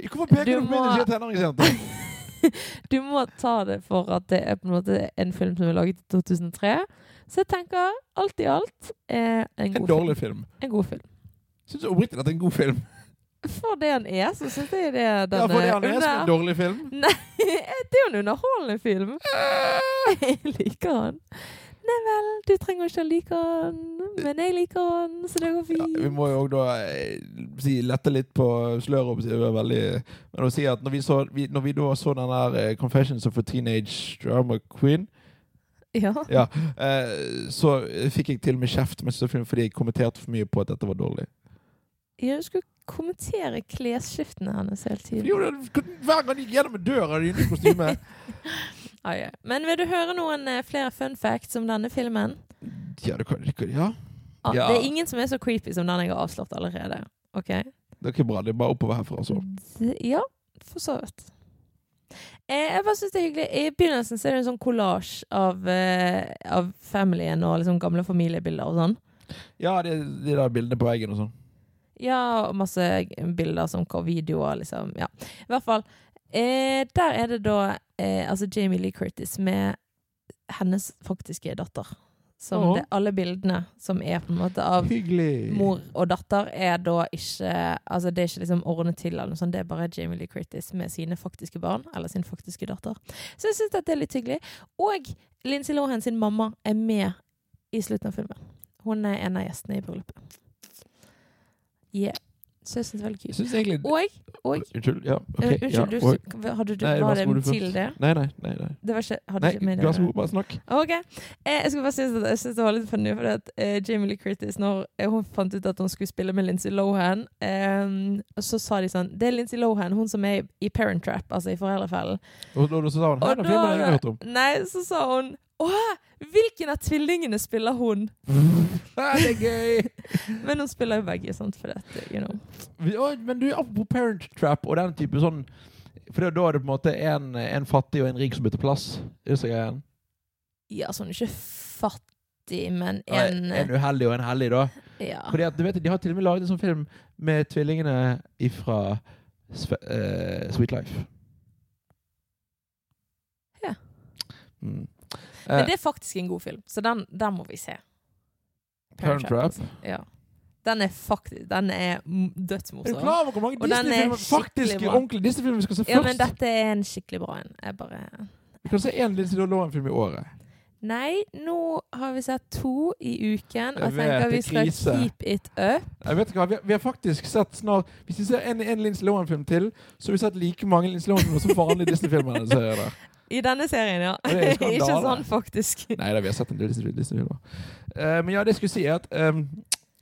[SPEAKER 1] Hvorfor peker
[SPEAKER 2] Du
[SPEAKER 1] du, på meg
[SPEAKER 2] må-
[SPEAKER 1] når jeg er tenåringsjente?
[SPEAKER 2] Du må ta det for at det er på en måte en film som er laget i 2003. Så jeg tenker alt i alt eh, en,
[SPEAKER 1] En
[SPEAKER 2] god
[SPEAKER 1] dårlig film.
[SPEAKER 2] film. en god film.
[SPEAKER 1] Syns du oppriktig at det er en god film?
[SPEAKER 2] For det han er, så syns jeg det er den eh,
[SPEAKER 1] Ja, for det han er som
[SPEAKER 2] under-
[SPEAKER 1] en dårlig film.
[SPEAKER 2] Det er jo en underholdende film. Eh, Jeg liker han. Nei vel, du trenger ikke å like han, men jeg liker han, så det går
[SPEAKER 1] Ja,
[SPEAKER 2] fint.
[SPEAKER 1] vi må jo òg da eh, si, lette litt på sløret. og si det var veldig, Men å si at når vi, så, vi, når vi da så den der eh, 'Confessions of a Teenage Drama Queen',
[SPEAKER 2] Ja.
[SPEAKER 1] ja, eh, så fikk jeg til og med kjeft med søsteren fordi jeg kommenterte for mye på at dette var dårlig.
[SPEAKER 2] Ja, Du skulle kommentere klesskiftene hennes hele tiden.
[SPEAKER 1] Jo, det- Hver gang de gikk gjennom en dør, hadde de nytt kostyme.
[SPEAKER 2] Ah, ja. Men vil du høre noen eh, flere fun facts om denne filmen?
[SPEAKER 1] Ja, det kan, det kan, ja.
[SPEAKER 2] Ah,
[SPEAKER 1] Ja.
[SPEAKER 2] Det er ingen som er så creepy som den jeg har avslått allerede. Ok?
[SPEAKER 1] Det er ikke bra. Det er bare oppover herfra. altså.
[SPEAKER 2] Mm.
[SPEAKER 1] Så.
[SPEAKER 2] Det- Ja, for så vidt. Eh, jeg bare synes det er hyggelig. I begynnelsen så er det en sånn kollasj av, eh, av familien og liksom gamle familiebilder og sånn.
[SPEAKER 1] Ja, de, de der bildene på veggen og sånn.
[SPEAKER 2] Ja, og masse g- bilder som går videoer, liksom. Ja. I hvert fall. Eh, der er det da eh, altså Jamie Lee Curtis med hennes faktiske datter. Som
[SPEAKER 1] Åh.
[SPEAKER 2] det, alle bildene som er på en måte av
[SPEAKER 1] Hyggelig.
[SPEAKER 2] mor og datter er da ikke Altså det er ikke liksom ordnet til eller noe sånt, det er bare Jamie Lee Curtis med sine faktiske barn, eller sin faktiske datter. Så jeg syns dette er litt hyggelig. Og Lindsay Lohan sin mamma er med i slutten av filmen. Hun er en av gjestene i bryllupet. Yeah. Så jeg syns det er veldig
[SPEAKER 1] Jeg
[SPEAKER 2] kult.
[SPEAKER 1] synes egentlig
[SPEAKER 2] Og, og
[SPEAKER 1] Unnskyld. Ja, ok.
[SPEAKER 2] eh, Unnskyld,
[SPEAKER 1] ja,
[SPEAKER 2] du,
[SPEAKER 1] og,
[SPEAKER 2] hadde du
[SPEAKER 1] Nei, vær
[SPEAKER 2] var
[SPEAKER 1] så
[SPEAKER 2] det
[SPEAKER 1] god, du
[SPEAKER 2] til
[SPEAKER 1] først.
[SPEAKER 2] det?
[SPEAKER 1] nei, nei, nei. nei.
[SPEAKER 2] Det var ikke, hadde
[SPEAKER 1] Nei,
[SPEAKER 2] ikke med det å
[SPEAKER 1] Vær så
[SPEAKER 2] gjøre.
[SPEAKER 1] god, bare snakk.
[SPEAKER 2] Ok. Eh, jeg skulle bare synes at jeg synes det var litt funny, for at eh, Jamie Lee Curtis, når eh, hun fant ut at hun skulle spille med Lindsay Lohan, eh, så sa de sånn Det er Lindsay Lohan, hun som er i Parent Trap, altså i Foreldrefellen.
[SPEAKER 1] Og da, da sa han Her er filmen jeg har hørt om.
[SPEAKER 2] Nei, så sa hun Åh, hvilken av tvillingene spiller hun?
[SPEAKER 1] Ah, det er gøy!
[SPEAKER 2] Men hun spiller jo begge, sant, for dette, you know.
[SPEAKER 1] Vi- å, Men du, apropos Parent Trap og den type sånn For da er det på en måte en, en fattig og en rik som bytter plass. Det er så greien.
[SPEAKER 2] Ja, så hun er ikke fattig, men
[SPEAKER 1] Og En,
[SPEAKER 2] en
[SPEAKER 1] en uheldig og en heldig, da.
[SPEAKER 2] Ja.
[SPEAKER 1] Fordi at, du vet, De har til og med laget en sånn film med tvillingene ifra Sve eh, Sweet Life.
[SPEAKER 2] Ja.
[SPEAKER 1] Mm.
[SPEAKER 2] Men det er faktisk en god film, så den, den må vi se.
[SPEAKER 1] Eh, Parent Trap.
[SPEAKER 2] altså. Ja. Den er faktisk Den er m-
[SPEAKER 1] Er du
[SPEAKER 2] dødsmorsom.
[SPEAKER 1] klar over hvor mange
[SPEAKER 2] Og den er
[SPEAKER 1] Disney-filmer faktisk
[SPEAKER 2] skikkelig bra.
[SPEAKER 1] ordentlige Disney-filmer vi skal se
[SPEAKER 2] Ja,
[SPEAKER 1] først?
[SPEAKER 2] men dette er en skikkelig bra en. Jeg bare
[SPEAKER 1] Vi kan se én Lindsay Lohan-film i året.
[SPEAKER 2] Nei, nå har vi sett to i uken, og
[SPEAKER 1] Jeg
[SPEAKER 2] jeg tenker
[SPEAKER 1] vet,
[SPEAKER 2] vi
[SPEAKER 1] det er
[SPEAKER 2] skal
[SPEAKER 1] krise.
[SPEAKER 2] keep it up.
[SPEAKER 1] Jeg vet ikke hva, vi, vi har faktisk sett snart Hvis vi ser en, en Lindsay Lohan-film til, så har vi sett like mange Lindsay Lohan-filmer som vanlige Disney-filmer. ser jeg der.
[SPEAKER 2] I denne serien, ja.
[SPEAKER 1] det er skandale.
[SPEAKER 2] Ikke sånn, faktisk.
[SPEAKER 1] Nei da, vi har sett en del Disney- Disney-filmer. Eh, men ja, det jeg skulle si, er at ehm,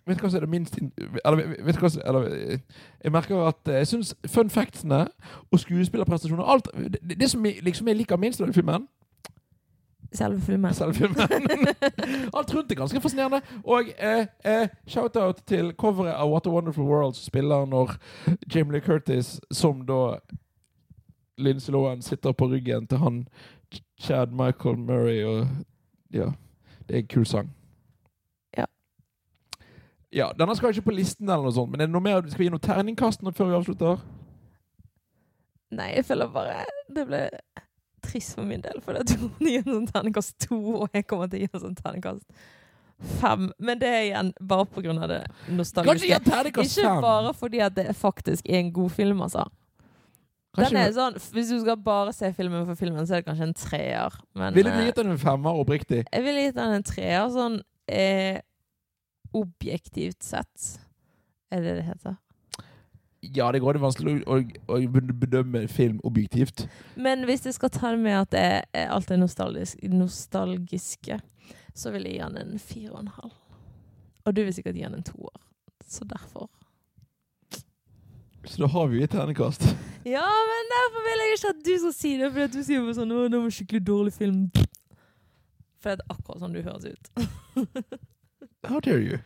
[SPEAKER 1] Vet du hva som er det minst in- Eller, vet du hva som, eller eh, Jeg merker at eh, jeg syns fun factsene og skuespillerprestasjoner alt, det, det som jeg, liksom jeg liker minst av den filmen,
[SPEAKER 2] Selve filmen.
[SPEAKER 1] Selve filmen. Alt rundt er ganske fascinerende. Og eh, eh, shout-out til coveret av What a Wonderful World som spiller når Jamie Lee Curtis, som da Lindsay Lohan, sitter på ryggen til han Ch- Chad Michael Murray og Ja. Det er en kul sang.
[SPEAKER 2] Ja.
[SPEAKER 1] Ja, Denne skal ikke på listen, eller noe sånt, men er det noe mer? skal vi gi noe terningkast nå før vi avslutter?
[SPEAKER 2] Nei, jeg føler bare Det ble trist for min del, for jeg tror hun gir en sånn terningkast to, og jeg kommer til å gi en sånn terningkast fem. Men det er igjen bare på grunn av det
[SPEAKER 1] Kanskje gi
[SPEAKER 2] nostalgiske.
[SPEAKER 1] en terningkast
[SPEAKER 2] Ikke
[SPEAKER 1] fem?
[SPEAKER 2] bare fordi at det faktisk er en god film, altså.
[SPEAKER 1] Kanskje
[SPEAKER 2] Den er sånn, Hvis du skal bare se filmen for filmen, så er det kanskje en treer. Men
[SPEAKER 1] Ville du
[SPEAKER 2] eh,
[SPEAKER 1] gitt den en femmer oppriktig?
[SPEAKER 2] jeg ville gitt den en treer sånn eh, objektivt sett. Er det det heter?
[SPEAKER 1] Ja, det går det er vanskelig å, å, å bedømme film objektivt.
[SPEAKER 2] Men hvis jeg skal ta det med at jeg, jeg alt er nostalgisk, nostalgiske, så vil jeg gi han en fire og en halv. Og du vil sikkert gi han en toer. Så derfor.
[SPEAKER 1] Så da har vi jo et ternekast.
[SPEAKER 2] Ja, men derfor vil jeg ikke at du skal si det, for at du sier bare sånn 'Å, det var en skikkelig dårlig film'. For det er akkurat sånn du høres ut.
[SPEAKER 1] How dare you?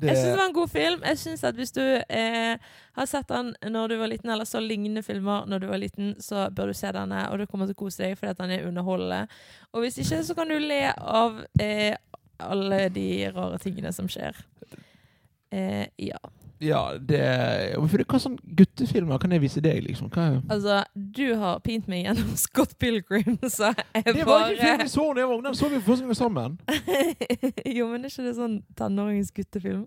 [SPEAKER 1] Det,
[SPEAKER 2] Jeg syns det var en god film. Jeg synes at Hvis du eh, har sett den når du var liten, eller så lignende filmer når du var liten, så bør du se denne, og du kommer til å kose deg fordi at den er underholdende. Og hvis ikke, så kan du le av eh, alle de rare tingene som skjer. Eh, ja.
[SPEAKER 1] ja, det for det, Hva sånn guttefilmer kan jeg vise deg, liksom? Hva er
[SPEAKER 2] Altså, du har pint meg gjennom Scott Pilgrim, så jeg
[SPEAKER 1] det var
[SPEAKER 2] bare
[SPEAKER 1] ikke filmen vi så da jeg var ungdom! Så vi for første gang sammen.
[SPEAKER 2] Jo, men er ikke det sånn tenåringens guttefilm?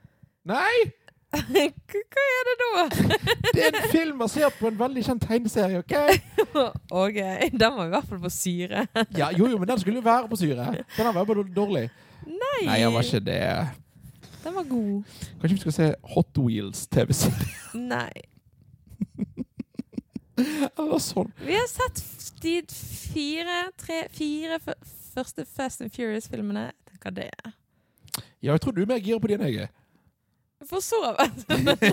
[SPEAKER 1] Nei!
[SPEAKER 2] Hva hva er det da?
[SPEAKER 1] Det er en film basert på en veldig kjent tegneserie, OK?
[SPEAKER 2] OK, den var i hvert fall på syre.
[SPEAKER 1] Ja, jo, jo, men den skulle jo være på syre. Den her var bare dårlig.
[SPEAKER 2] Nei,
[SPEAKER 1] Nei, den var ikke det.
[SPEAKER 2] den var god.
[SPEAKER 1] Kanskje vi skal se Hot Wheels-TV-serie?
[SPEAKER 2] Nei.
[SPEAKER 1] Eller sånn.
[SPEAKER 2] Vi har sett f- de fire, tre, fire f første Fast and Furious-filmene. Jeg tenker det er
[SPEAKER 1] Ja, jeg tror du er mer gira på de enn jeg er.
[SPEAKER 2] For så vidt.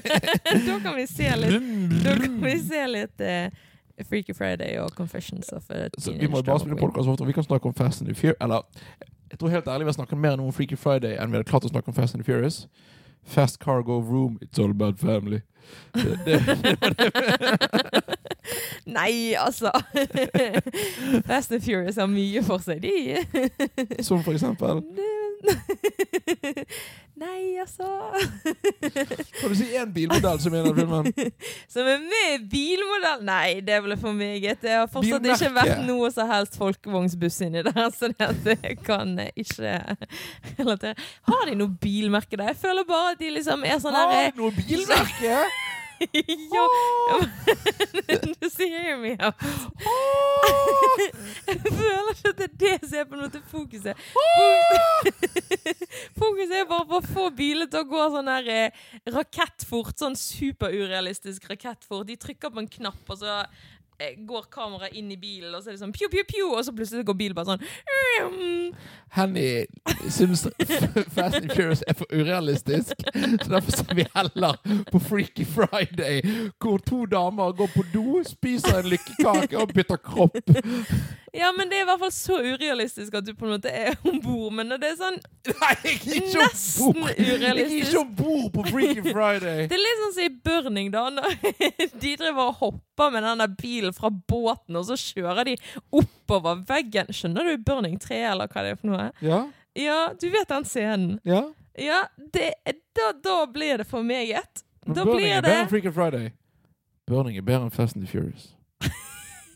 [SPEAKER 2] da kan vi se litt, da kan vi se litt eh, Freaky Friday og Confessions of a
[SPEAKER 1] Så
[SPEAKER 2] Teenage
[SPEAKER 1] vi må jo bare spille
[SPEAKER 2] Drama Queen.
[SPEAKER 1] podcast ofte, og vi kan snakke om Fast and the Furious. Eller, jeg tror helt ærlig vi har snakket mer om Freaky Friday enn vi hadde klart å snakke om Fast and the Furious. Fast Cargo Room, It's All About Family. Det, det,
[SPEAKER 2] Nei, altså. Fast and Furious har mye for seg, de.
[SPEAKER 1] som for eksempel
[SPEAKER 2] Det- Nei, altså.
[SPEAKER 1] Kan du si én bilmodell som er i den filmen?
[SPEAKER 2] Som er med i bilmodell Nei, det ble for meget. Det har fortsatt ikke
[SPEAKER 1] Bilmerke.
[SPEAKER 2] vært noe som helst folkevognsbuss inni der, så det at jeg kan ikke relatere. Har de noe bilmerke der? Jeg føler bare at de liksom er sånn
[SPEAKER 1] Har
[SPEAKER 2] derre
[SPEAKER 1] du noe bilmerke?
[SPEAKER 2] Ja, du sier jo mye. Jeg føler ikke at det er det som er på en måte fokuset. Fokuset er bare på å få biler til å gå sånn her eh, rakettfort, sånn superurealistisk rakettfort. De trykker på en knapp, og så eh, går kameraet inn i bilen, og så er det sånn pju, pju, pju, og så plutselig går bilen bare sånn mm.
[SPEAKER 1] Henny syns Fast and Furious er for urealistisk, så derfor ser vi heller på Freaky Friday, hvor to damer går på do, spiser en lykkekake og bytter kropp.
[SPEAKER 2] Ja, men det er i hvert fall så urealistisk at du på en måte er om bord, men når det er sånn
[SPEAKER 1] Nei, jeg er ikke
[SPEAKER 2] Nesten
[SPEAKER 1] ombord. Jeg er
[SPEAKER 2] urealistisk.
[SPEAKER 1] ikke om bord på Freaky Friday!
[SPEAKER 2] Det er litt sånn som i Burning, da. Når de driver og hopper med den der bilen fra båten, og så kjører de oppover veggen. Skjønner du Burning 3, eller hva det er for noe?
[SPEAKER 1] Ja?
[SPEAKER 2] Ja, du vet den scenen.
[SPEAKER 1] ja.
[SPEAKER 2] Ja, det, da, da blir det for meget.
[SPEAKER 1] Men
[SPEAKER 2] Da
[SPEAKER 1] Burning
[SPEAKER 2] blir
[SPEAKER 1] er bedre
[SPEAKER 2] det
[SPEAKER 1] enn Freaky Friday. Burning er bedre enn Fast and the Furious.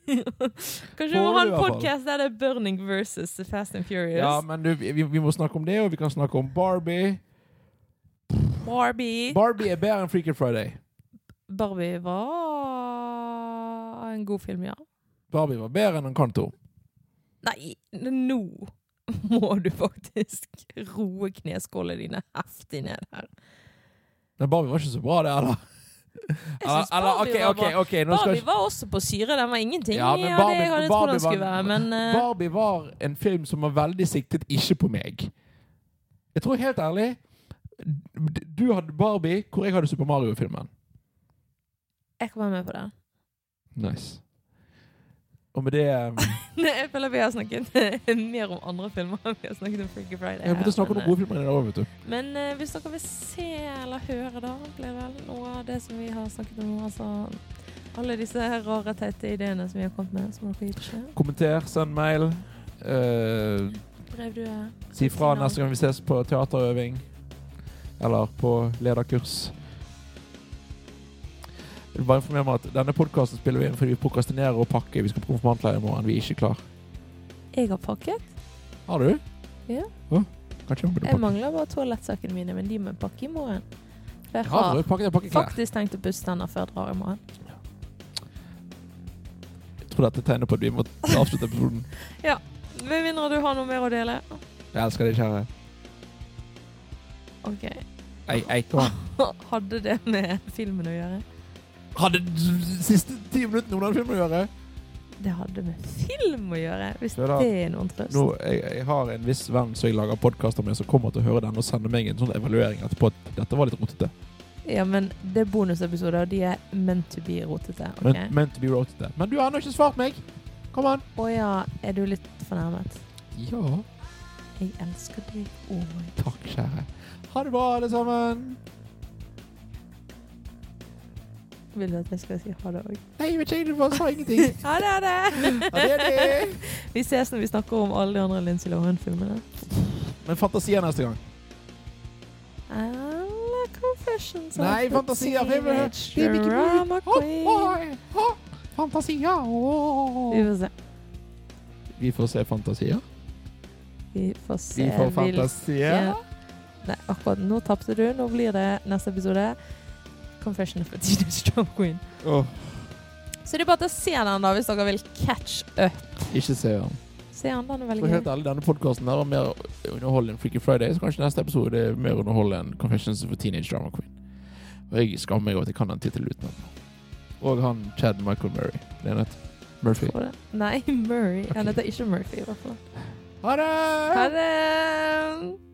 [SPEAKER 2] Kanskje vi må ha en
[SPEAKER 1] Får du i hvert fall.
[SPEAKER 2] podkast der det er Burning versus The Fast and Furious.
[SPEAKER 1] Ja, men du, vi, vi må snakke om det, og vi kan snakke om Barbie.
[SPEAKER 2] Barbie.
[SPEAKER 1] Barbie er bedre enn Freaky Friday.
[SPEAKER 2] Barbie var en god film, ja.
[SPEAKER 1] Barbie var bedre enn Encanto.
[SPEAKER 2] Nei, nå må du faktisk roe kneskålene dine heftig ned her.
[SPEAKER 1] Men Barbie var ikke så bra, det, eller?
[SPEAKER 2] Jeg synes
[SPEAKER 1] Eller- eller,
[SPEAKER 2] Barbie
[SPEAKER 1] ok,
[SPEAKER 2] var
[SPEAKER 1] ok,
[SPEAKER 2] bra.
[SPEAKER 1] ok, nå skal
[SPEAKER 2] Barbie
[SPEAKER 1] ikke-
[SPEAKER 2] var også på syre, den var ingenting.
[SPEAKER 1] Ja,
[SPEAKER 2] Ja,
[SPEAKER 1] men
[SPEAKER 2] det
[SPEAKER 1] Barbie-
[SPEAKER 2] hadde jeg trodd
[SPEAKER 1] Barbie
[SPEAKER 2] den skulle
[SPEAKER 1] var-
[SPEAKER 2] være, men eh,
[SPEAKER 1] Barbie var en film som var veldig siktet ikke på meg. Jeg tror helt ærlig d- Du hadde Barbie, hvor jeg hadde Super Mario-filmen.
[SPEAKER 2] eh, jeg kan være med på det.
[SPEAKER 1] Nice. Og med det um,
[SPEAKER 2] jeg føler vi har snakket mer om andre filmer. enn Vi har snakket om Freaky Friday.
[SPEAKER 1] Jeg måtte
[SPEAKER 2] her,
[SPEAKER 1] snakke om
[SPEAKER 2] men,
[SPEAKER 1] noen gode filmer i dag òg, vet du.
[SPEAKER 2] eh, Men eh, hvis dere vil se eller høre, da, blir vel noe av det som vi har snakket om. Altså, alle disse rare, teite ideene som vi har kommet med, som dere gir beskjed.
[SPEAKER 1] Kommenter, send mail. eh,
[SPEAKER 2] Brev du er.
[SPEAKER 1] si fra neste gang vi ses på teaterøving. Eller på lederkurs. Jeg vil bare informere meg at Denne podkasten spiller vi inn fordi vi prokrastinerer og pakker. Vi skal på konfirmantleir i morgen. Vi er ikke klar.
[SPEAKER 2] Jeg har pakket.
[SPEAKER 1] Har du?
[SPEAKER 2] Ja.
[SPEAKER 1] Åh, kanskje jeg burde
[SPEAKER 2] Jeg
[SPEAKER 1] pakke.
[SPEAKER 2] mangler bare toalettsakene mine, men de må jeg pakke i morgen. For jeg
[SPEAKER 1] Jeg har
[SPEAKER 2] har
[SPEAKER 1] aldri pakket, jeg pakker klær.
[SPEAKER 2] faktisk tenkt å pusse tenner før jeg drar i morgen.
[SPEAKER 1] Jeg tror dette tegner på at vi må avslutte episoden.
[SPEAKER 2] Med mindre du har noe mer å dele.
[SPEAKER 1] Jeg elsker deg, kjære.
[SPEAKER 2] OK.
[SPEAKER 1] Ei, ei, kom an.
[SPEAKER 2] Hadde det med filmen å gjøre?
[SPEAKER 1] Hadde d- siste ti minuttene hun hadde filmen å gjøre?
[SPEAKER 2] Det hadde med film å gjøre, hvis
[SPEAKER 1] Ja da.
[SPEAKER 2] det er noen trøst.
[SPEAKER 1] Nå, jeg, jeg har en viss venn som jeg lager podkaster med, som kommer til å høre den og sende meg en sånn evaluering etterpå. at Dette var litt rotete.
[SPEAKER 2] Ja, men det er bonusepisoder, og de er meant to be rotete. ok?
[SPEAKER 1] Men, meant to be rotete. Men du har ennå ikke svart meg! Kom an!
[SPEAKER 2] Å ja, er du litt fornærmet?
[SPEAKER 1] Ja,
[SPEAKER 2] Jeg elsker deg, Omar.
[SPEAKER 1] takk, kjære. Ha det bra, alle sammen.
[SPEAKER 2] Vil du at jeg skal si ha det òg?
[SPEAKER 1] Nei, jeg vet ikke, du bare sa ingenting.
[SPEAKER 2] Ha det, ha det!
[SPEAKER 1] Adeli!
[SPEAKER 2] Vi ses når vi snakker om alle de andre Lindsay Lohan-filmene.
[SPEAKER 1] Men fantasier neste gang.
[SPEAKER 2] Eller Confessions of
[SPEAKER 1] Nei,
[SPEAKER 2] a
[SPEAKER 1] fantasier, vi vil-
[SPEAKER 2] Teenage
[SPEAKER 1] vi vil ikke-
[SPEAKER 2] Drama
[SPEAKER 1] Ho,
[SPEAKER 2] Queen.
[SPEAKER 1] hoi, ho. Fantasier!
[SPEAKER 2] Vi
[SPEAKER 1] åh.
[SPEAKER 2] får se.
[SPEAKER 1] Vi får se fantasier.
[SPEAKER 2] Vi får se.
[SPEAKER 1] Vi får
[SPEAKER 2] hvilke-
[SPEAKER 1] fantasier.
[SPEAKER 2] Nei, akkurat nå tapte du. Nå blir det neste episode Confession of a Teenage Drama Queen.
[SPEAKER 1] Åh,
[SPEAKER 2] Så det er bare til å se den, da, hvis dere vil catch up.
[SPEAKER 1] ikke se den.
[SPEAKER 2] Se den, den er
[SPEAKER 1] For
[SPEAKER 2] veldig
[SPEAKER 1] helt
[SPEAKER 2] gøy.
[SPEAKER 1] ærlig, denne podkasten var mer underholdende enn Freaky Friday, så kanskje neste episode er mer underholdende enn Confessions of a Teenage Drama Queen. Og jeg skammer meg over at jeg kan den tittelen utenat. Og han Chad Michael Murray. Det er nett. Murphy.
[SPEAKER 2] Tror det. Nei, Murray. Han
[SPEAKER 1] Ok.
[SPEAKER 2] heter ikke Murphy, i hvert fall.
[SPEAKER 1] Ha det!
[SPEAKER 2] Ha det!